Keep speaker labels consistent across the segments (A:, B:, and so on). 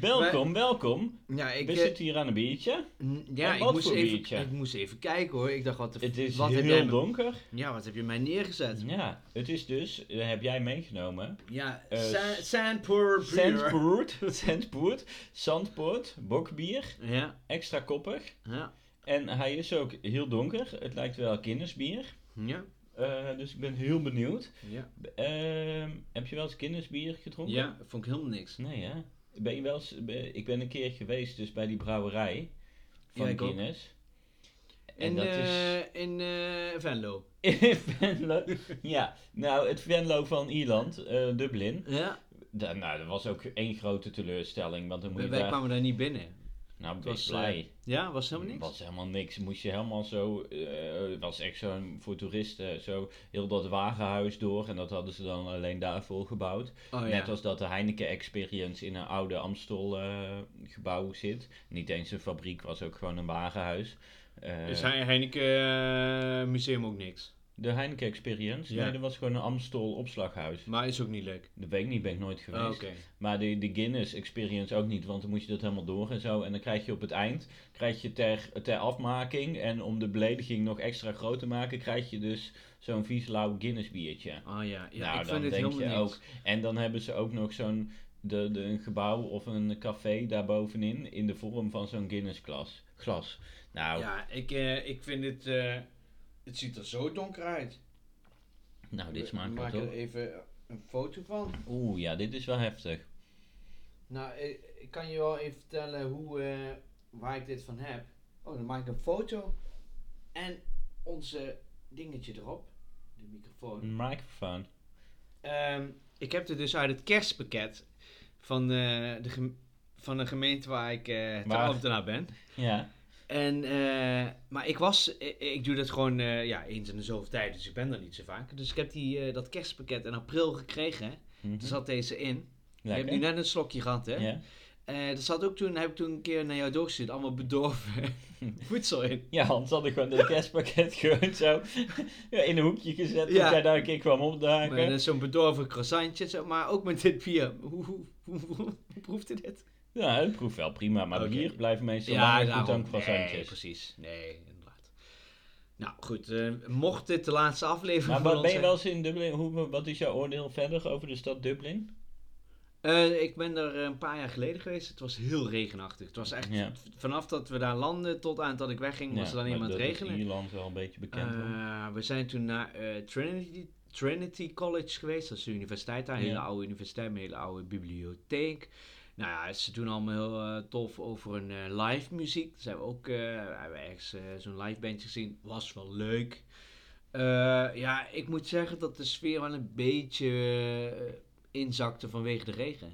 A: Welkom, welkom.
B: Ja, ik,
A: We
B: eh,
A: zitten hier aan een biertje.
B: n- ja,
A: En
B: ik,
A: wat
B: moest
A: voor
B: even,
A: biertje?
B: ik moest even kijken hoor. Ik dacht, wat, de,
A: Het is
B: wat, heb, jij,
A: heel
B: me-
A: donker.
B: ja, wat heb je mij neergezet? Ja,
A: Ja, het is dus, eh, heb jij meegenomen. Eh,
B: Sa- Sandpoor Brewer.
A: Zandpoort, Zandpoort, Zandpoort, bokbier,
B: Ja,
A: extra koppig.
B: ja,
A: En hij is ook heel donker. Het lijkt wel kindersbier.
B: ja,
A: Eh, dus ik ben heel benieuwd.
B: ja.
A: Ehm, heb je wel eens kindersbier gedronken?
B: Ja, vond ik helemaal niks.
A: Nee, hè? Ben je wel eens, ben- ik ben een keer geweest dus bij die brouwerij van
B: Ja, ik ook.
A: Guinness. En
B: In,
A: dat is...
B: eh, in eh, Venlo.
A: In Venlo. Ja, nou, het Venlo van Ierland, eh, Dublin.
B: Ja,
A: Da- nou, dat was ook één grote teleurstelling, want dan moet
B: wij
A: je
B: wij
A: daar...
B: kwamen daar niet binnen.
A: Nou,
B: Het
A: ben
B: was,
A: je blij.
B: Ja, was helemaal niks.
A: was helemaal niks. Moest je helemaal zo... eh, Het was echt zo'n voor toeristen. eh, Zo heel dat wagenhuis door. En dat hadden ze dan alleen daarvoor gebouwd.
B: Oh
A: Net
B: ja.
A: als dat de Heineken Experience in een oude Amstel eh, gebouw zit. Niet eens een fabriek, was ook gewoon een wagenhuis. Eh,
B: Is He- Heineken eh, Museum ook niks.
A: De Heineken Experience?
B: Ja.
A: Nee, dat was gewoon een Amstel opslaghuis.
B: Maar is ook niet leuk.
A: Dat weet ik niet, ben ik nooit geweest.
B: Oh, Oké.
A: Maar de, de Guinness Experience ook niet, want dan moet je dat helemaal door en zo. En dan krijg je op het eind, krijg je ter, ter afmaking en om de belediging nog extra groot te maken, krijg je dus zo'n vies lauw Guinness biertje.
B: Oh ja, ja
A: nou,
B: ik
A: dan
B: vind het
A: denk
B: helemaal
A: je
B: niks.
A: ook. En dan hebben ze ook nog zo'n de, de, een gebouw of een café daarbovenin in de vorm van zo'n Guinness glas. glas. Nou,
B: Ja, ik, eh, ik vind het... eh, het ziet er zo donker uit.
A: nou dit smaakt wel
B: Maak er
A: toch?
B: even een foto van.
A: Oeh, ja, dit is wel heftig.
B: Nou, eh, ik kan je wel even vertellen hoe, eh, waar ik dit van heb. Oh, dan maak ik een foto. En onze dingetje erop. De microfoon.
A: Een microfoon.
B: Ehm, ik heb dit dus uit het kerstpakket van, eh, de, gem- van de gemeente waar ik eh
A: Waar?
B: ambtenaar ben.
A: Ja,
B: En, eh, maar ik was, ik, ik doe dat gewoon eh, ja, eens in de zoveel tijd, dus ik ben er niet zo vaak. Dus ik heb die, eh, dat kerstpakket in april gekregen.
A: Mhm.
B: Er zat deze in. Je hebt
A: lekker.
B: nu net een slokje gehad, hè?
A: Ja.
B: Eh, er zat ook toen, heb ik toen een keer naar jou doorgestuurd, allemaal bedorven voedsel in.
A: ja, Hans had ik gewoon dat kerstpakket gewoon zo in een hoekje gezet.
B: Ja.
A: Dat jij daar een keer kwam
B: Maar
A: opdagen.
B: dat is eh, Zo'n bedorven croissantje, zo, maar ook met dit bier. Hoe, hoe, hoe, hoe- hoe proefde dit?
A: Ja, het proeft wel prima. Maar
B: Oké.
A: bier blijft meestal langer goed
B: daarom.
A: dan
B: Nee,
A: croissantjes.
B: precies. Nee, inderdaad. Nou goed, eh, mocht dit de laatste aflevering
A: maar
B: van
A: wat,
B: ons
A: ben je
B: zijn-
A: wel eens in Dublin? Hoe, wat is jouw oordeel verder over de stad Dublin?
B: Eh, ik ben er een paar jaar geleden geweest. Het was heel regenachtig. Het was echt
A: Ja.
B: v- vanaf dat we daar landden tot aan dat ik wegging, was
A: Ja,
B: er alleen maar aan
A: dat
B: het
A: is in
B: regenen.
A: Ierland wel een beetje bekend. om.
B: Eh, we zijn toen naar eh, Trinity, Trinity College geweest. Dat is de universiteit daar. Een hele
A: Ja.
B: oude universiteit, een hele oude bibliotheek. Nou ja, ze doen allemaal heel eh, tof over hun eh, live muziek. Dus hebben we ook eh, hebben we ergens eh, zo'n live bandje gezien. Was wel leuk. Eh, ja, ik moet zeggen dat de sfeer wel een beetje eh, inzakte vanwege de regen.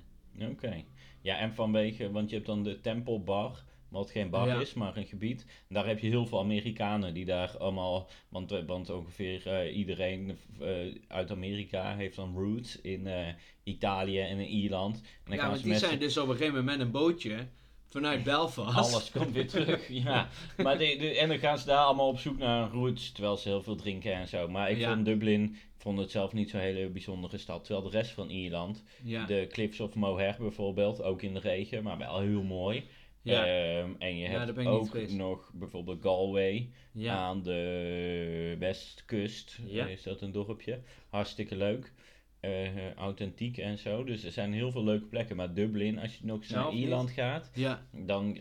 A: Oké. Ja, en vanwege, want je hebt dan de tempelbar, wat geen bar
B: Ja.
A: is, maar een gebied. En daar heb je heel veel Amerikanen die daar allemaal, want, eh, want ongeveer eh, iedereen eh, uit Amerika heeft dan roots in eh, Italië en in Ierland. En dan
B: Ja,
A: gaan
B: want
A: ze
B: die
A: met z'n-
B: zijn dus op een gegeven moment met een bootje vanuit Belfast.
A: Alles komt weer terug, ja. Maar de, de- en dan gaan ze daar allemaal op zoek naar een roots, terwijl ze heel veel drinken en zo. Maar ik
B: Ja.
A: vond Dublin, ik vond het zelf niet zo'n hele bijzondere stad. Terwijl de rest van Ierland,
B: Ja.
A: De Cliffs of Moher bijvoorbeeld, ook in de regen, maar wel heel mooi.
B: Ja.
A: Ehm, en je
B: Ja, daar
A: hebt
B: ben ik niet
A: ook
B: geweest.
A: nog bijvoorbeeld Galway
B: ja.
A: aan de westkust.
B: Ja.
A: Is dat een dorpje? Hartstikke leuk. Eh, authentiek en zo. Dus er zijn heel veel leuke plekken. Maar Dublin, als je nog eens
B: Nou,
A: naar
B: of niet?
A: Ierland gaat,
B: ja.
A: dan.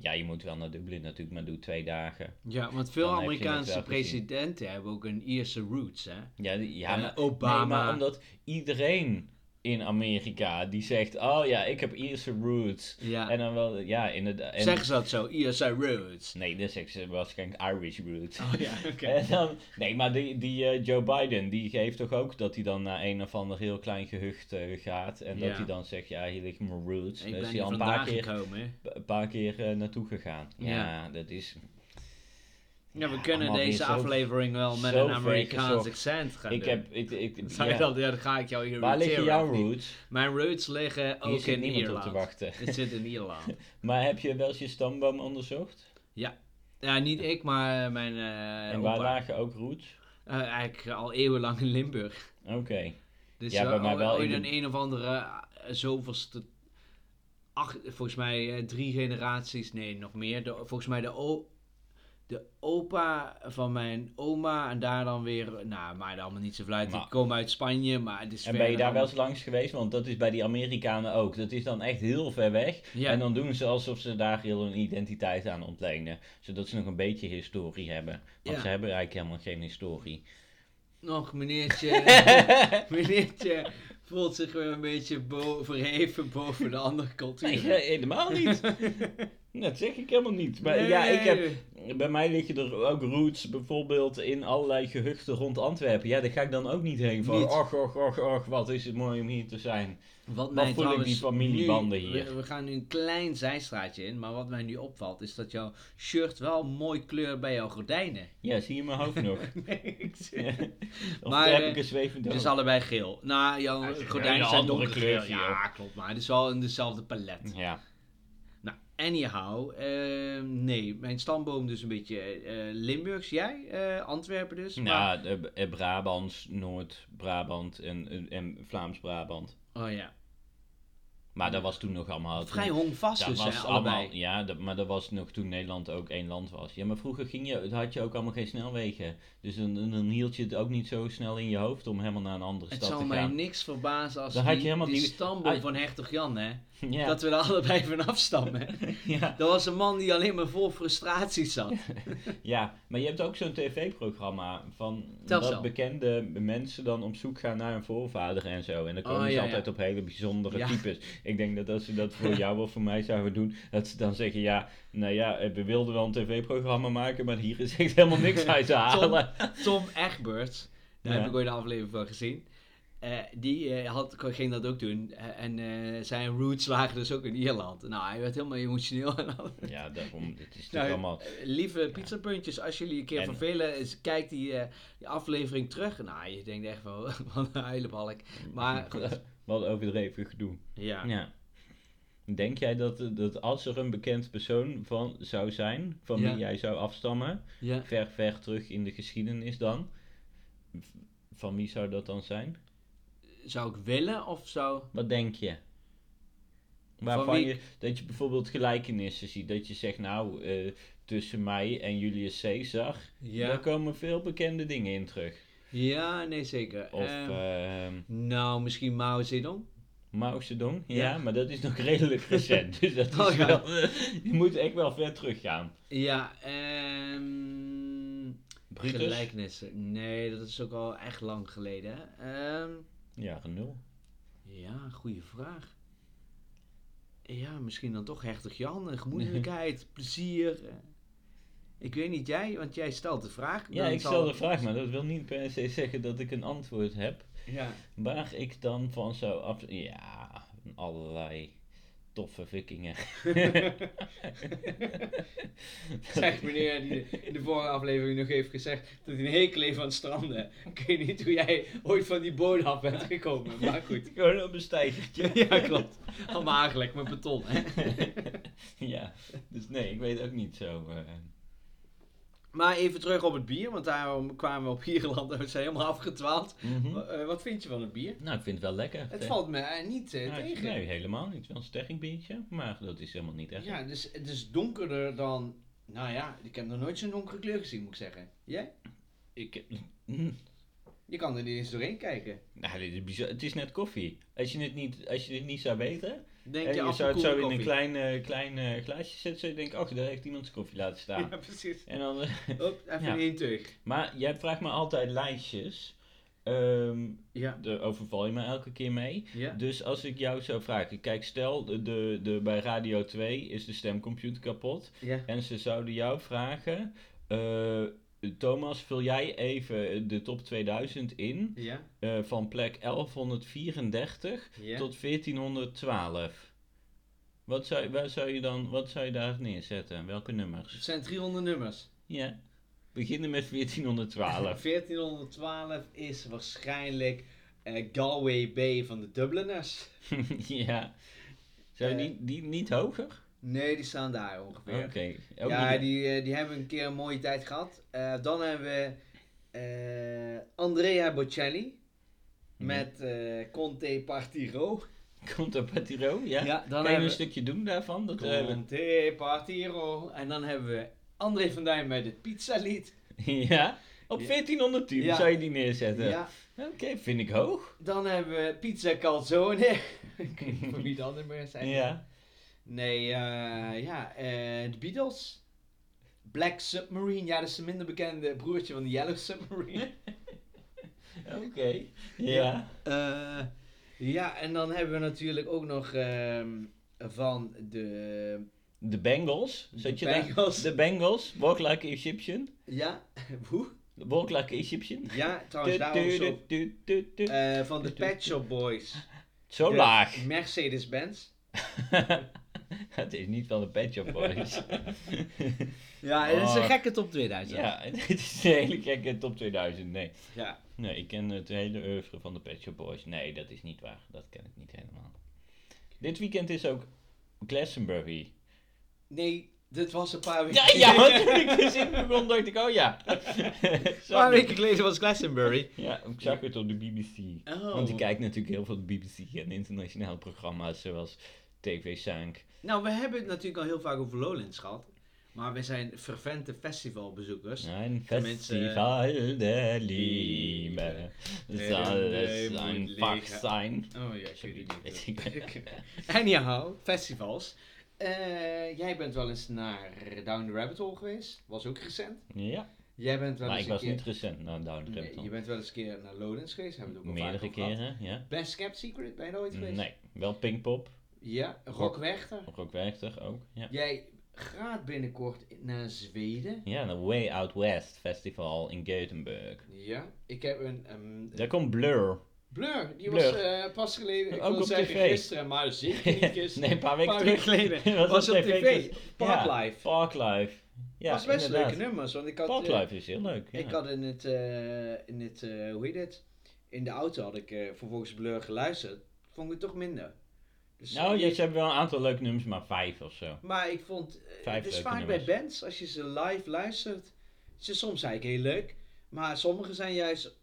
A: Ja, je moet wel naar Dublin natuurlijk, maar doe twee dagen.
B: Ja, want veel
A: Dan heb je het
B: Amerikaanse
A: wel gezien.
B: presidenten hebben ook een Ierse roots, hè?
A: Ja, die- ja
B: Eh,
A: maar,
B: Obama.
A: nee, maar omdat iedereen in Amerika die zegt: Oh ja, ik heb Ierse roots.
B: Ja.
A: En dan wel, ja, inderdaad. En,
B: Zeggen ze dat zo, Ierse roots?
A: Nee, dat zegt ze waarschijnlijk Irish roots.
B: Oh ja, oké.
A: En dan, nee, maar die, die eh, Joe Biden, die geeft toch ook dat hij dan naar een of ander heel klein gehucht eh, gaat. En
B: Ja.
A: dat hij dan zegt, ja, hier liggen mijn roots.
B: Ik
A: Daar
B: ben
A: is hij
B: hier
A: al een paar
B: vandaag
A: keer,
B: gekomen, hè?
A: een paar keer eh, naartoe gegaan. Ja,
B: Ja.
A: dat is...
B: Ja, we
A: Ja,
B: kunnen
A: allemaal weer
B: deze
A: zo-
B: aflevering wel met
A: zo
B: een Amerikaans
A: vergezocht.
B: accent gaan
A: ik
B: doen.
A: heb... Ik, ik,
B: Zou je
A: ja.
B: dat, ja, dan ga ik jou hier
A: Waar liggen
B: irriteren,
A: jouw
B: of niet?
A: roots?
B: Mijn roots liggen
A: Hier
B: ook
A: zit
B: in
A: niemand
B: Ierland.
A: op te wachten.
B: Het zit in Ierland.
A: Maar heb je wel eens je stamboom onderzocht?
B: Ja, niet ik, maar eh, mijn eh
A: en waar
B: opa.
A: lagen ook roots?
B: Eh, eigenlijk al eeuwenlang in Limburg.
A: Oké.
B: Dus oh,
A: Ja,
B: ja,
A: bij mij wel in
B: ooit
A: de-
B: een een of andere eh, zoveelste acht, volgens mij eh, drie generaties, nee, nog meer. De, volgens mij de, o, de opa van mijn oma en daar dan weer, nou, maar allemaal niet zo uit. Die
A: Maar-
B: komen uit Spanje, maar het is
A: En
B: verder
A: ben je daar wel eens
B: allemaal-
A: langs geweest? Want dat is bij die Amerikanen ook. Dat is dan echt heel ver weg.
B: Ja.
A: En dan doen ze alsof ze daar heel hun identiteit aan ontlenen. Zodat ze nog een beetje historie hebben. Want
B: Ja.
A: ze hebben eigenlijk helemaal geen historie.
B: Nog meneertje, meneertje voelt zich weer een beetje bo verheven boven de andere
A: Nee,
B: cultuur.
A: helemaal niet. Dat zeg ik helemaal niet. Maar
B: Nee,
A: ja, ik heb,
B: nee.
A: bij mij liggen er ook roots bijvoorbeeld in allerlei gehuchten rond Antwerpen. Ja, daar ga ik dan ook niet heen van.
B: Niet.
A: Och, och, och, och, wat is het mooi om hier te zijn.
B: Wat
A: Dan
B: mij
A: voel ik
B: trouwens
A: die familiebanden
B: nu-
A: hier.
B: We, we gaan nu een klein zijstraatje in, maar wat mij nu opvalt is dat jouw shirt wel mooi kleur bij jouw gordijnen.
A: Ja, zie je mijn hoofd nog?
B: Nee, ik zie-
A: Ja. Of
B: Maar,
A: heb
B: eh,
A: ik een zwevend
B: Het is
A: oog?
B: allebei geel. Nou, jouw
A: het is een
B: gordijnen zijn
A: andere
B: donkergeel.
A: kleur,
B: Ja, klopt, maar het is wel in dezelfde palet.
A: Ja.
B: Nou, anyhow, ehm, nee, mijn stamboom dus een beetje eh, Limburgs. Jij, eh, Antwerpen dus. maar-
A: Nou, eh, eh, Brabants, Noord-Brabant en, en- en Vlaams-Brabant.
B: oh ja,
A: Maar dat was toen nog allemaal...
B: vrij
A: toen-
B: hongvast
A: dat
B: dus, hè,
A: was
B: allebei.
A: allemaal, ja, dat, maar dat was nog toen Nederland ook één land was. Ja, maar vroeger ging je, had je ook allemaal geen snelwegen. Dus dan, dan dan hield je het ook niet zo snel in je hoofd om helemaal naar een andere
B: Het
A: stad
B: zou
A: te
B: mij
A: gaan.
B: niks verbazen als
A: Dan had je
B: die,
A: helemaal
B: die
A: die-
B: stamboom
A: Ah.
B: van hertog Jan, hè.
A: Ja,
B: Dat we er allebei van afstammen.
A: ja,
B: Dat was een man die alleen maar vol frustratie zat.
A: ja, maar je hebt ook zo'n tv-programma van
B: Telcel.
A: dat bekende mensen dan op zoek gaan naar hun voorvader en zo. En dan komen
B: Oh,
A: ze
B: ja,
A: altijd op hele bijzondere
B: Ja.
A: types. Ik denk dat als ze dat voor jou of voor mij zouden doen, dat ze dan zeggen, ja, nou ja, eh, we wilden wel een tv-programma maken, maar hier is echt helemaal niks uit te halen.
B: Tom Egberts, daar
A: Ja.
B: heb ik ooit een aflevering van gezien. eh, die eh, had, ging dat ook doen. Eh, en eh, zijn roots lagen dus ook in Ierland. Nou, hij werd helemaal emotioneel. en alles.
A: Ja, daarom, het is toch
B: Nou,
A: allemaal...
B: eh, lieve pizzapuntjes, als jullie een keer
A: En-
B: vervelen, is, kijk die, eh, die aflevering terug. Nou, je denkt echt van, wat een huilenbalk. Maar goed,
A: Wat overdreven gedoe.
B: ja.
A: Ja. Denk jij dat, eh, dat als er een bekend persoon van zou zijn, van
B: Ja.
A: wie jij zou afstammen,
B: ja.
A: ver, ver terug in de geschiedenis dan, v- van wie zou dat dan zijn?
B: Zou ik willen of zou...
A: Wat denk je? Waarvan
B: wie-
A: je, dat je bijvoorbeeld gelijkenissen ziet, dat je zegt, nou, eh, tussen mij en Julius Caesar, daar komen veel bekende dingen in terug.
B: ja nee zeker.
A: Of
B: Ehm,
A: ehm,
B: Nou, misschien Mao Zedong.
A: Mao Zedong, ja,
B: Ja.
A: maar dat is nog redelijk recent. Dus dat is
B: Oh, ja.
A: wel, je moet echt wel ver teruggaan.
B: Ja, ehm...
A: Brutus,
B: Gelijkenissen. Nee, dat is ook al echt lang geleden. Ehm,
A: jaren nul.
B: ja, goede vraag. Ja, misschien dan toch hertog Jan. eh, Gemoedelijkheid, plezier. eh. Ik weet niet, jij? Want jij stelt de vraag.
A: Ja,
B: dan
A: ik
B: zal-
A: stel de vraag, maar dat wil niet per se zeggen dat ik een antwoord heb.
B: Ja.
A: Waar ik dan van zou af... Ja, allerlei toffe vikingen.
B: Zegt meneer die in de vorige aflevering nog heeft gezegd dat hij een hekel heeft aan stranden. Ik weet niet hoe jij ooit van die boot af bent gekomen, maar goed.
A: Gewoon op een stijgertje.
B: Ja, klopt. Allemaal eigenlijk met beton, hè.
A: ja, dus nee, ik weet ook niet zo. eh.
B: Maar even terug op het bier, want daarom kwamen we op Ierland en we zijn helemaal afgetwaald.
A: Mhm.
B: Eh, wat vind je van het bier?
A: Nou, ik vind het wel lekker.
B: Het valt me eh, niet eh,
A: Ja, het-
B: tegen.
A: Nee, helemaal niet. Wel een sterk biertje, maar dat is helemaal niet echt.
B: Ja, het is, het is donkerder dan... Nou ja, ik heb nog nooit zo'n donkere kleur gezien, moet ik zeggen. Jij?
A: Ik heb... Hm.
B: Je kan er niet eens doorheen kijken.
A: Nou, dit is bizar. Het is net koffie. Als je dit niet, als je dit niet zou weten,
B: Denk
A: en
B: je,
A: je zou het zo in een
B: klein...
A: klein, eh, klein eh, glaasje zetten, zou je denken, ach, daar heeft iemand zijn koffie laten staan.
B: Ja, precies.
A: En dan,
B: Hop, even
A: Ja.
B: in één teug.
A: maar jij vraagt me altijd lijstjes. Ehm,
B: Ja.
A: daar overval je me elke keer mee.
B: Ja.
A: Dus als ik jou zou vragen, kijk, stel, de, de, de- bij Radio 2 is de stemcomputer kapot.
B: Ja.
A: En ze zouden jou vragen, eh, Thomas, vul jij even de top 2000 in
B: Ja.
A: eh, van plek 1134
B: Ja.
A: tot 1412. Wat zou, waar zou je dan, wat zou je daar neerzetten? Welke
B: Het
A: nummers?
B: zijn 300 nummers.
A: Ja. Beginnen met 1412.
B: 1412 is waarschijnlijk eh, Galway Bay van de Dubliners.
A: ja. Zou je
B: Eh.
A: die, die niet hoger?
B: Nee, die staan daar ongeveer.
A: Oké. Oh, Ook
B: ja,
A: niet-
B: die, eh, die hebben een keer een mooie tijd gehad. Eh, dan hebben we eh, Andrea Bocelli
A: Mhm.
B: met eh Conte Partiro.
A: Komt op Patiro, ja.
B: Ja,
A: kan
B: dan
A: je
B: hebben
A: een
B: we...
A: stukje doen daarvan? Dat, eh, we-
B: Conte Partiro. En dan hebben we André van Duin met het pizzalied.
A: ja, op
B: Ja.
A: 1410
B: Ja.
A: zou je die neerzetten.
B: Ja.
A: Oké, vind ik hoog.
B: Dan hebben we pizza calzone. Ik weet niet voor wie dat nummer is eigenlijk.
A: Ja.
B: Nee, eh, ja, eh, de Beatles. Black Submarine, ja, dat is een minder bekende broertje van de Yellow Submarine.
A: Oké. Ja.
B: Eh, ja, en dan hebben we natuurlijk ook nog ehm, van de...
A: De Bengals. Zet
B: De
A: je daar-
B: Bengals.
A: De Bengals. Walk like an Egyptian.
B: Ja, hoe?
A: Walk like an Egyptian.
B: Ja, trouwens, daar ook zo.
A: Du- du- du- du- du.
B: Eh, van de Pet Shop Boys.
A: Zo
B: De
A: laag.
B: Mercedes-Benz.
A: Het is niet van de Pet Shop Boys.
B: Ja,
A: het is een
B: gekke top 2000. Ja.
A: Oh. ja, dit is een hele gekke top 2000. Nee.
B: ja.
A: nee, ik ken het hele oeuvre van de Pet Shop Boys. Nee, dat is niet waar. Dat ken ik niet helemaal. Dit weekend is ook Glastonbury.
B: Nee, dit was een paar weken
A: Ja, ja want toen ik de zin begon, dacht ik, oh ja.
B: Een paar weken geleden was Glastonbury.
A: Ja, ik zag het op de BBC.
B: Oh.
A: Want ik kijk natuurlijk heel veel BBC en internationale programma's zoals TV 5.
B: Nou, we hebben het natuurlijk al heel vaak over Lowlands gehad. Maar we zijn fervente festivalbezoekers.
A: Een
B: De mensen-
A: festival der Liebe. Zal
B: Nee,
A: es
B: moet
A: een
B: liggen.
A: vak zijn?
B: Oh ja, ik
A: Sorry,
B: weet het
A: weet
B: niet.
A: ik.
B: Anyhow, festivals. Eh, jij bent wel eens naar Down the Rabbit Hole geweest. Was ook recent.
A: Ja,
B: Jij bent wel
A: maar
B: eens
A: ik
B: een
A: was
B: keer...
A: niet recent naar Down the
B: Nee,
A: Rabbit
B: je
A: Hole.
B: bent wel eens een keer naar Lowlands geweest. Hebben we het ook al
A: Meerdere
B: vaker over gehad.
A: keren, ja. Mm,
B: Best Kept Secret, ben je daar ooit geweest?
A: Nee, wel Pinkpop.
B: Ja, Rock Werchter.
A: Of ook Werchter ook. Ja.
B: Jij gaat binnenkort naar Zweden.
A: ja, de Way Out West Festival in Gothenburg.
B: Ja, ik heb een... ehm,
A: Daar komt Blur.
B: Blur, die
A: Blur.
B: was eh, pas geleden, ik
A: Ook
B: wil
A: op
B: zeggen
A: tv.
B: gisteren, maar zeker niet gisteren.
A: Nee, een paar weken
B: Paar
A: terug.
B: weken geleden
A: was,
B: was
A: op
B: op tv.
A: gisteren. Ja,
B: Parklife.
A: Parklife. Ja,
B: was best
A: inderdaad.
B: leuke nummers, want ik had, eh,
A: Parklife is heel leuk. Ja.
B: ik had in het, eh, in het eh, hoe heet het, in de auto had ik eh, vervolgens Blur geluisterd. Vond ik het toch minder. Dus,
A: nou,
B: eh,
A: ja, ze hebben wel een aantal leuke nummers, maar vijf of zo.
B: Maar ik vond, eh,
A: Vijf
B: het is
A: leuke
B: vaak
A: nummers.
B: bij bands, als je ze live luistert, ze soms eigenlijk heel leuk. Maar sommige zijn juist,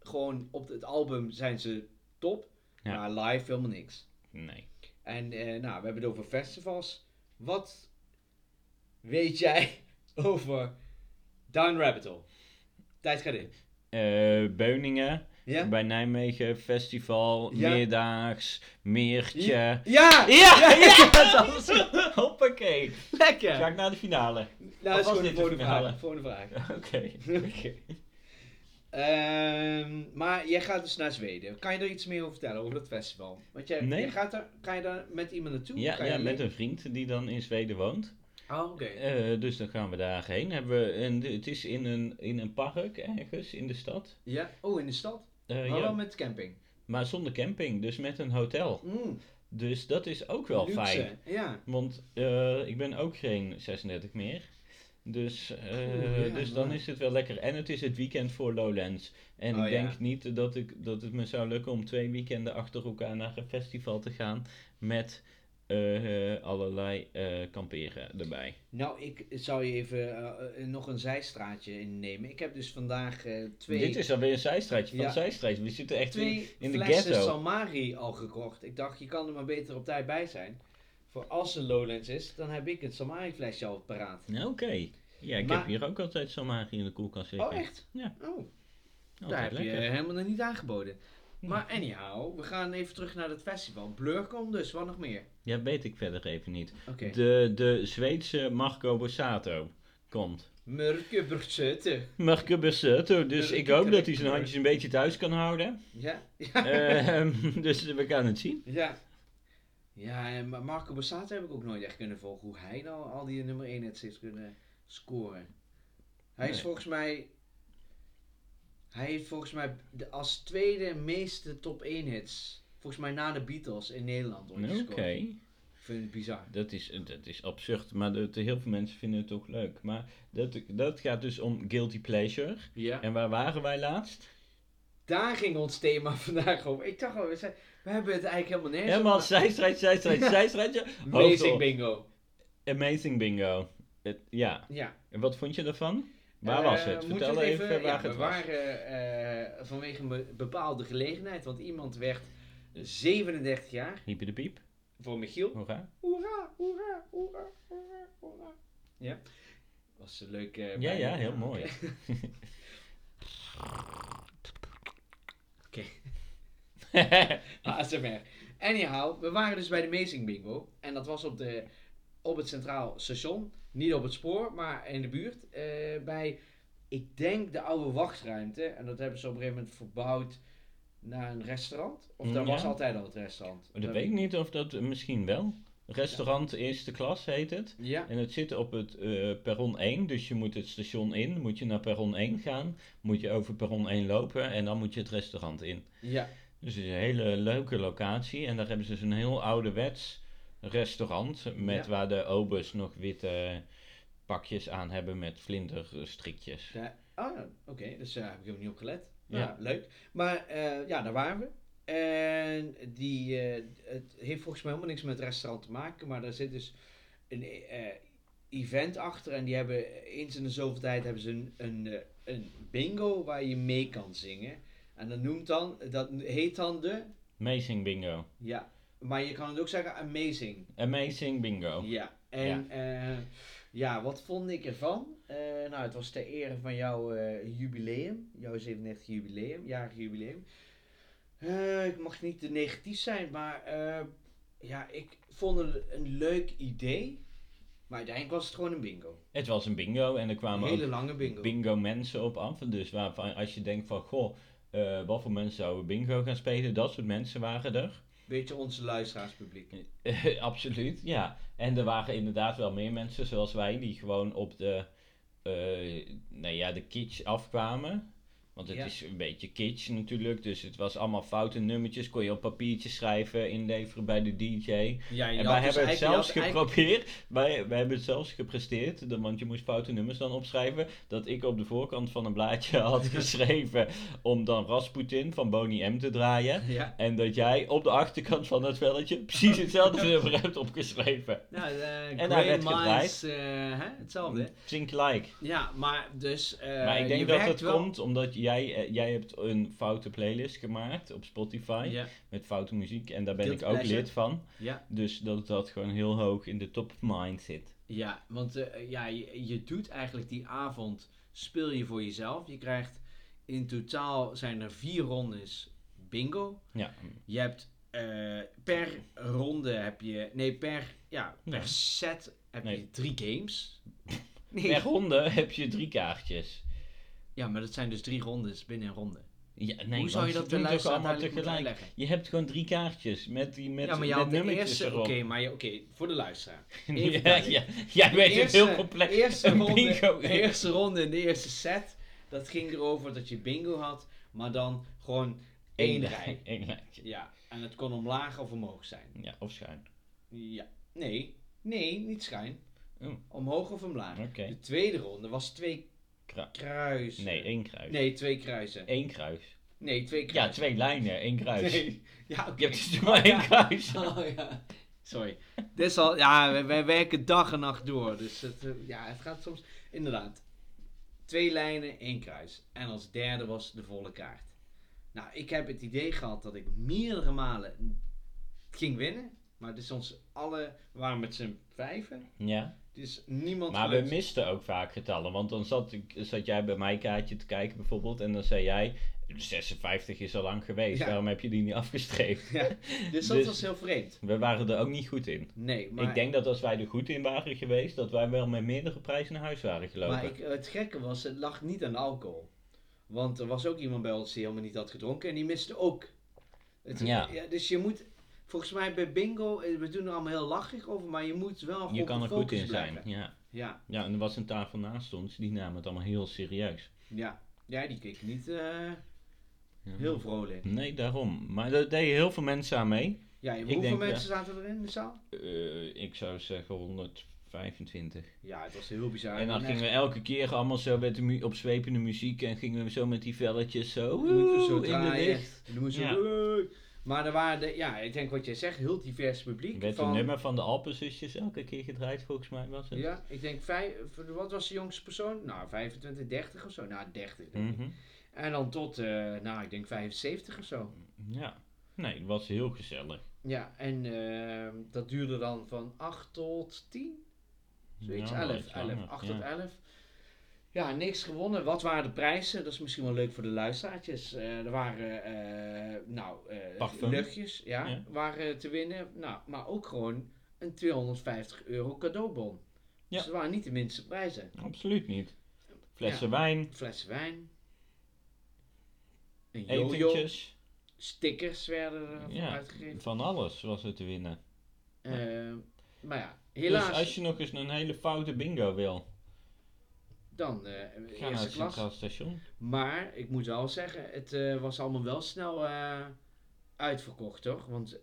B: gewoon op het album zijn ze top,
A: Ja.
B: maar live helemaal niks.
A: Nee.
B: En eh, nou, we hebben het over festivals. Wat weet jij over Down Rabbit Hole? Tijd gaat in.
A: Eh, Beuningen,
B: Ja?
A: bij Nijmegen, festival,
B: Ja.
A: meerdaags, meertje. Ja,
B: Ja!
A: ja,
B: dat is
A: Hoppakee. Ga
B: lekker!
A: ik naar de finale.
B: Nou, dat is
A: was
B: gewoon de
A: dit de
B: volgende
A: finale?
B: vraag. Volgende vraag.
A: Oké.
B: Oké. Ehm, maar jij gaat dus naar Zweden. Kan je er iets meer over vertellen, over dat festival? Want jij,
A: Nee.
B: jij gaat er, kan je daar met iemand naartoe?
A: Ja,
B: kan je
A: ja, met
B: alleen-
A: een vriend die dan in Zweden woont.
B: Oh, oké.
A: Eh, dus dan gaan we daarheen. Hebben we een, het is in een, in een park ergens in de stad.
B: Ja. Oh, in de stad?
A: Eh,
B: maar wel
A: ja.
B: met camping.
A: Maar zonder camping, dus met een hotel.
B: Mm,
A: Dus dat is ook wel
B: luxe.
A: fijn.
B: Ja.
A: Want eh, ik ben ook geen 36 meer. Dus, eh,
B: Oeh, ja,
A: dus dan
B: man.
A: is het wel lekker. En het is het weekend voor Lowlands. En
B: Oh,
A: ik
B: ja.
A: denk niet dat, ik, dat het me zou lukken om twee weekenden achter elkaar naar een festival te gaan. Met eh, eh, allerlei eh, kamperen erbij.
B: Nou, ik zou je even eh, eh, nog een zijstraatje innemen. Ik heb dus vandaag eh, twee,
A: Dit is alweer een zijstraatje van
B: Ja.
A: zijstraatje. We zitten echt in,
B: twee
A: in de
B: flessen
A: ghetto.
B: Salmari al gekocht. Ik dacht, je kan er maar beter op tijd bij zijn. Voor als er Lowlands is, dan heb ik het Salmari flesje al paraat.
A: Ja, Nou, Oké. Ja, ik
B: Maar-
A: heb hier ook altijd zo'n magie in de koelkast zitten.
B: Oh, echt?
A: Ja.
B: Oh,
A: Altijd
B: daar heb je
A: lekker.
B: eh, helemaal nog niet aangeboden. Maar anyhow, we gaan even terug naar het festival. Blur komt dus, wat nog meer?
A: Ja, weet ik verder even niet.
B: Oké.
A: De, de Zweedse Marco Borsato komt.
B: Murke Bertsutte.
A: Marco Borsato, dus
B: Eh,
A: ik hoop dat hij
B: ik-
A: zijn handjes een beetje thuis kan houden.
B: Ja?
A: Ehm, dus we gaan het zien.
B: Ja. Ja, en Ma- Marco Borsato heb ik ook nooit echt kunnen volgen. Hoe hij nou al die nummer 1 hits heeft kunnen scoren. Hij is
A: Nee.
B: volgens mij... Hij heeft volgens mij de, als tweede meeste top 1 hits. Volgens mij na de Beatles in Nederland ooit
A: Oké,
B: gescoord. Ik vind het bizar.
A: dat, is, dat is absurd, maar dat, heel veel mensen vinden het ook leuk. Maar dat, dat gaat dus om guilty pleasure.
B: Ja.
A: En waar waren wij laatst?
B: Daar ging ons thema vandaag over. Ik dacht al, we, zijn, we hebben het eigenlijk helemaal nergens
A: Helemaal
B: over,
A: zijstrijd, zijstrijd,
B: Ja.
A: zijstrijdje.
B: maar- Amazing
A: Hoofdrol.
B: bingo.
A: Amazing bingo. Het, ja,
B: Ja.
A: en wat vond je daarvan? Waar was
B: Eh,
A: het?
B: moet
A: Vertel
B: ik
A: even,
B: ja,
A: waar
B: we
A: het was.
B: waren eh, vanwege een be- bepaalde gelegenheid, want iemand werd 37 jaar.
A: Hiepie de piep.
B: Voor Michiel.
A: Hoera.
B: Hoera, hoera, hoera, hoera, hoera. Ja. Was een leuk. eh,
A: Ja,
B: bijna-
A: ja, heel mooi.
B: Oké. Oké. ASMR. Anyhow, we waren dus bij de Amazing Bingo. En dat was op, de, op het Centraal Station. Niet op het spoor, maar in de buurt. eh, bij, ik denk, de oude wachtruimte. En dat hebben ze op een gegeven moment verbouwd naar een restaurant. Of dat
A: Mm, Ja.
B: was altijd al het restaurant.
A: dat weet ik niet of dat eh, misschien wel. Restaurant Eerste Klas heet het.
B: Ja.
A: En het zit op het eh, perron 1, dus je moet het station in, moet je naar perron 1 gaan, moet je over perron 1 lopen en dan moet je het restaurant in.
B: ja.
A: Dus het is een hele leuke locatie en daar hebben ze dus een heel ouderwets restaurant met
B: Ja.
A: waar de obers nog witte pakjes aan hebben met vlinderstrikjes.
B: Ja. Oh, ja, oké. Dus daar heb ik ook niet op gelet. Ja,
A: Ja.
B: leuk. Maar eh, ja, daar waren we. En die, eh, het heeft volgens mij helemaal niks met het restaurant te maken. Maar daar zit dus een eh, event achter. En die hebben eens in de zoveel tijd hebben ze een, een, eh, een bingo waar je mee kan zingen. En dat noemt dan, dat heet dan de,
A: Amazing bingo.
B: ja. Maar je kan het ook zeggen amazing.
A: Amazing bingo.
B: Ja, en ja. ja, wat vond ik ervan? Eh, nou, het was ter ere van jouw eh, jubileum, jouw 37 jubileum, jarig jubileum. Eh, ik mag niet te negatief zijn, maar eh, ja, ik vond het een leuk idee. Maar uiteindelijk was het gewoon een bingo.
A: Het was een bingo en er
B: Een
A: kwamen Ah, ook
B: hele lange bingo.
A: bingo mensen op af. Dus waarvan, als je denkt van, goh, eh, wat voor mensen zouden bingo gaan spelen? Dat soort mensen waren er.
B: Beetje onze luisteraarspubliek.
A: Eh, Absoluut, ja. En er waren inderdaad wel meer mensen zoals wij die gewoon op de, eh, nou ja, de kitsch afkwamen. Want het
B: Ja.
A: is een beetje kitsch natuurlijk, dus het was allemaal foute nummertjes. Kon je op papiertje schrijven, inleveren bij de DJ.
B: Ja, je
A: En
B: had
A: wij
B: dus
A: hebben het
B: eigenlijk- je had
A: zelfs
B: eigenlijk-
A: geprobeerd. Wij, wij hebben het zelfs gepresteerd. dan- Want je moest foute nummers dan opschrijven. Dat ik op de voorkant van een blaadje had geschreven. om dan Rasputin van Bonnie M te draaien.
B: Ja.
A: En dat jij op de achterkant van dat velletje. precies hetzelfde nummer hebt opgeschreven.
B: Nou, eh
A: daar
B: Grey
A: werd gedraaid.
B: Minds, eh, hè? hetzelfde.
A: Think like.
B: Ja, maar dus. eh,
A: maar ik
B: je
A: denk dat
B: werkt
A: dat
B: wel-
A: komt omdat jij, eh, jij hebt een foute playlist gemaakt op Spotify.
B: Ja,
A: Met foute muziek. En daar ben
B: Guilty
A: ik ook
B: pleasure.
A: lid van.
B: ja.
A: Dus dat dat gewoon heel hoog in de top of mind zit.
B: Ja, want eh, ja, je, je doet eigenlijk die avond, speel je voor jezelf. Je krijgt in totaal zijn er vier rondes bingo.
A: Ja,
B: Je hebt eh, per ronde heb je, nee per, ja, per
A: Ja.
B: set heb
A: Nee.
B: je drie games. Nee.
A: Per ronde heb je drie kaartjes.
B: Ja, maar dat zijn dus drie rondes binnen een ronde.
A: Ja, nee,
B: Hoe zou je dat de
A: doen toch
B: luisteraar
A: allemaal
B: duidelijk moeten
A: tegelijk?
B: uitleggen?
A: Je hebt gewoon drie kaartjes met, die, met,
B: ja, maar je
A: met
B: had de
A: nummertjes
B: eerste, oké,
A: erop.
B: maar je- oké, voor de luisteraar.
A: Ja,
B: Even duidelijk.
A: ja, jij weet het heel complex.
B: Eerste
A: Een
B: ronde,
A: bingo.
B: de eerste ronde in de eerste set, dat ging erover dat je bingo had, maar dan gewoon één rij.
A: Eén rijtje.
B: Ja, en het kon omlaag of omhoog zijn.
A: Ja, of schuin.
B: Ja, nee, nee, niet schijn.
A: Oh.
B: Omhoog of omlaag.
A: Oké.
B: De tweede ronde was twee
A: Kru-
B: kruisen.
A: Nee, één kruis.
B: Nee, twee kruisen.
A: Eén kruis.
B: Nee, twee
A: Ja,
B: kruisen.
A: twee lijnen, één kruis.
B: Nee. Ja, oké.
A: Je hebt dus maar één kruis.
B: Oh, ja. Sorry. Dit is al, ja, wij, wij werken dag en nacht door. Dus het, eh, ja, het gaat soms. Inderdaad. Twee lijnen, één kruis. En als derde was de volle kaart. Nou, ik heb het idee gehad dat ik meerdere malen ging winnen. Maar dus ons alle we waren met z'n vijven.
A: Ja,
B: Dus niemand.
A: maar we
B: gelukt.
A: misten ook vaak getallen. Want dan zat, ik, zat jij bij mijn kaartje te kijken bijvoorbeeld. En dan zei jij, 56 is al lang geweest.
B: Ja.
A: Waarom heb je die niet afgestreept?
B: Ja, dus dat
A: Dus-
B: was heel vreemd.
A: We waren er ook niet goed in.
B: Nee, maar,
A: Ik denk dat als wij er goed in waren geweest, dat wij wel met meerdere prijzen naar huis waren gelopen.
B: maar ik, het gekke was, het lag niet aan de alcohol. Want er was ook iemand bij ons die helemaal niet had gedronken en die miste ook. Het-
A: Ja.
B: dus je moet, volgens mij bij bingo, eh, we doen er allemaal heel lachig over, maar je moet wel
A: je
B: op
A: kan
B: de
A: er goed
B: focus
A: in zijn.
B: blijven.
A: Ja.
B: Ja,
A: ja, en er was een tafel naast ons, die nam het allemaal heel serieus.
B: ja. ja, die keek niet
A: Mhm.
B: eh,
A: Ja.
B: heel vrolijk.
A: Nee, daarom. Maar daar deden heel veel mensen aan mee.
B: Ja, hoeveel
A: denk,
B: mensen zaten er in de zaal?
A: Eh, ik zou zeggen 125.
B: Ja, het was heel bizar.
A: en dan
B: echt-
A: gingen we elke keer allemaal zo met de mu- op zwepende muziek en gingen we zo met die velletjes zo,
B: Dan moeten we zo
A: woe, in de
B: draaien.
A: licht.
B: En dan moesten we
A: Ja.
B: zo- Maar er waren, de, ja, ik denk wat jij zegt, heel divers
A: Er
B: publiek.
A: werd
B: van-
A: een nummer van de Alpenzusjes elke keer gedraaid, volgens mij was het.
B: Ja, ik denk, vijf, wat was de jongste persoon? Nou, 25, 30 of zo. Nou, 30 denk ik.
A: Mhm. Hm.
B: En dan tot, eh, nou, ik denk 75 of zo.
A: ja. Nee, het was heel gezellig.
B: Ja, en ehm, dat duurde dan van 8 tot 10? Zoiets,
A: Ja, wel
B: 11,
A: iets langer,
B: 11, 8
A: ja.
B: tot 11. Ja, niks gewonnen. Wat waren de prijzen? Dat is misschien wel leuk voor de luisteraartjes. Eh, er waren, eh, nou, eh,
A: Parfum.
B: luchtjes ja,
A: Ja.
B: waren te winnen. Nou, maar ook gewoon een 250 euro cadeaubon.
A: Ja.
B: Dus dat waren niet de minste prijzen.
A: Absoluut niet. Flessen
B: Ja.
A: wijn,
B: Flessen wijn. Een jojo.
A: etentjes,
B: Stickers werden er
A: Ja.
B: uitgegeven.
A: van alles was er te winnen.
B: Eh, maar ja, helaas.
A: Dus als je nog eens een hele foute bingo wil,
B: Dan eh
A: ga naar
B: eerste
A: het
B: klas.
A: Centraal Station.
B: Maar ik moet wel zeggen, het eh, was allemaal wel snel eh, uitverkocht, toch? Want eh,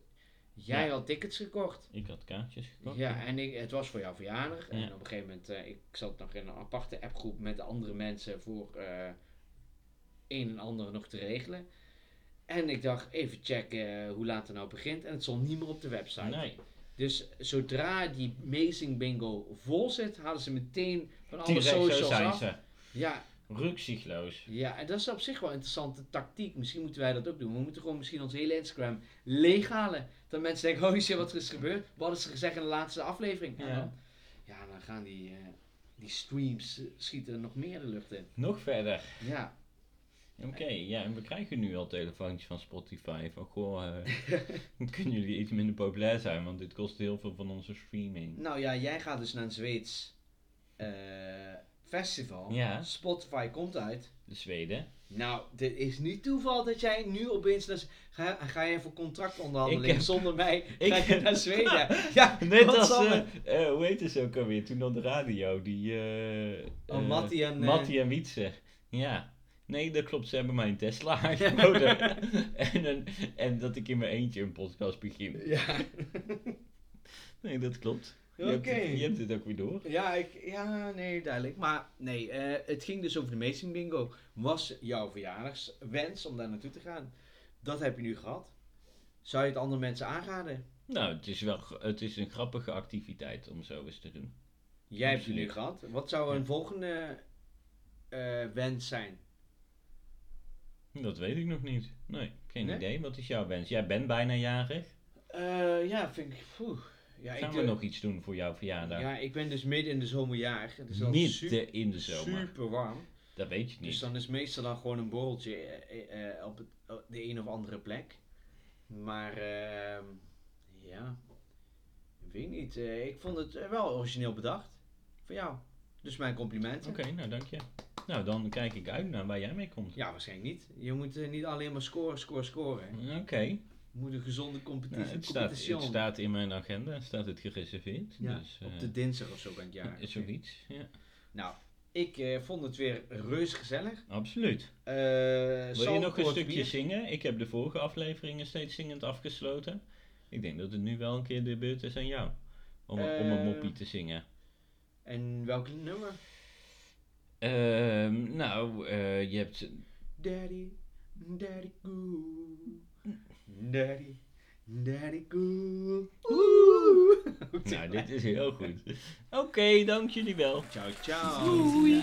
B: jij
A: Ja.
B: had tickets gekocht.
A: Ik had kaartjes gekocht.
B: Ja, en ik, het was voor jouw verjaardag. En
A: Oh, Ja.
B: op een gegeven moment, eh, ik zat nog in een aparte appgroep met andere mensen voor eh, een en ander nog te regelen. En ik dacht, even checken eh, hoe laat het nou begint. En het stond niet meer op de website.
A: Nee.
B: Dus zodra die Amazing Bingo vol zit, hadden ze meteen van alle
A: Direct zo
B: socials
A: zijn
B: af.
A: ze.
B: Ja,
A: Rukzichtloos.
B: ja, en dat is op zich wel een interessante tactiek. Misschien moeten wij dat ook doen. We moeten gewoon misschien ons hele Instagram leeghalen. Dat mensen denken, holy shit, wat er is gebeurd. Wat is er gezegd in de laatste aflevering? Ja,
A: Ja.
B: dan, ja, dan gaan die, eh, die streams eh, schieten nog meer de lucht in.
A: Nog verder.
B: Ja,
A: Oké, ja, en we krijgen nu al telefoontjes van Spotify. Van goh, eh, kunnen jullie iets minder populair zijn? Want dit kost heel veel van onze streaming.
B: nou ja, jij gaat dus naar een Zweeds eh, festival.
A: Ja.
B: Spotify komt uit.
A: De Zweden.
B: Nou, dit is niet toeval dat jij nu opeens naar... Z- Ga, ga jij voor contractonderhandeling
A: Ik heb-
B: zonder mij? Ga je
A: heb-
B: naar Zweden? Ja,
A: Net
B: wat
A: als,
B: zal
A: eh
B: het?
A: eh, hoe heet het ook alweer, toen op de radio, die... eh
B: Oh,
A: eh,
B: Mattie en, eh,
A: Mattie en Wietse. Ja. Nee, dat klopt, ze hebben mij een Tesla aangeboden. en, een- en dat ik in mijn eentje een podcast begin.
B: Ja.
A: Nee, dat klopt. Je,
B: Oké.
A: hebt het, je hebt het ook weer door.
B: Ja, ik, ja, nee, duidelijk. Maar nee, eh, het ging dus over de Amazing Bingo. Was jouw verjaardagswens om daar naartoe te gaan? Dat heb je nu gehad. Zou je het andere mensen aanraden?
A: Nou, het is wel gr- het is een grappige activiteit om zo eens te doen.
B: Jij hebt het nu
A: Absoluut.
B: gehad. Wat zou een volgende eh, wens zijn?
A: Dat weet ik nog niet. Nee, geen
B: Nee?
A: idee. Wat is jouw wens? Jij bent bijna jarig.
B: Eh, ja, vind ik... poeh. Ja,
A: Gaan
B: ik
A: we
B: doe-
A: nog iets doen voor jouw verjaardag?
B: Ja, ik ben dus midden in de zomerjaar. Het is al
A: Midden
B: super,
A: in de zomer.
B: super warm.
A: Dat weet je niet.
B: Dus dan is meestal dan gewoon een borreltje eh, eh, eh, op het- op de een of andere plek. Maar ehm, ja, ik weet niet. eh, ik vond het eh, wel origineel bedacht. Van jou. Dus mijn complimenten.
A: Oké, nou dank je. Nou, dan kijk ik uit naar waar jij mee komt.
B: Ja, waarschijnlijk niet. Je moet eh, niet alleen maar scoren, scoren, scoren. hè.
A: Oké,
B: Je moet een gezonde
A: Nou,
B: competitie.
A: het, staat,
B: competitie.
A: het staat in mijn agenda, staat het gereserveerd.
B: Ja,
A: dus,
B: op
A: eh,
B: de dinsdag of zo ben ik jaar.
A: is zoiets, ja.
B: Nou, ik eh, vond het weer reus gezellig.
A: Absoluut.
B: Eh,
A: Wil je
B: zalm,
A: nog een
B: kort
A: stukje
B: bier.
A: zingen? Ik heb de vorige afleveringen steeds zingend afgesloten. Ik denk dat het nu wel een keer de beurt is aan jou. Om, om
B: Eh,
A: een moppie te zingen.
B: En welk nummer?
A: Ehm, nou, eh, je hebt...
B: Daddy, daddy goo. Daddy, daddy goo. Oeh.
A: Nou, dit is heel goed. Oké, dank jullie wel.
B: Ciao, ciao. Doei.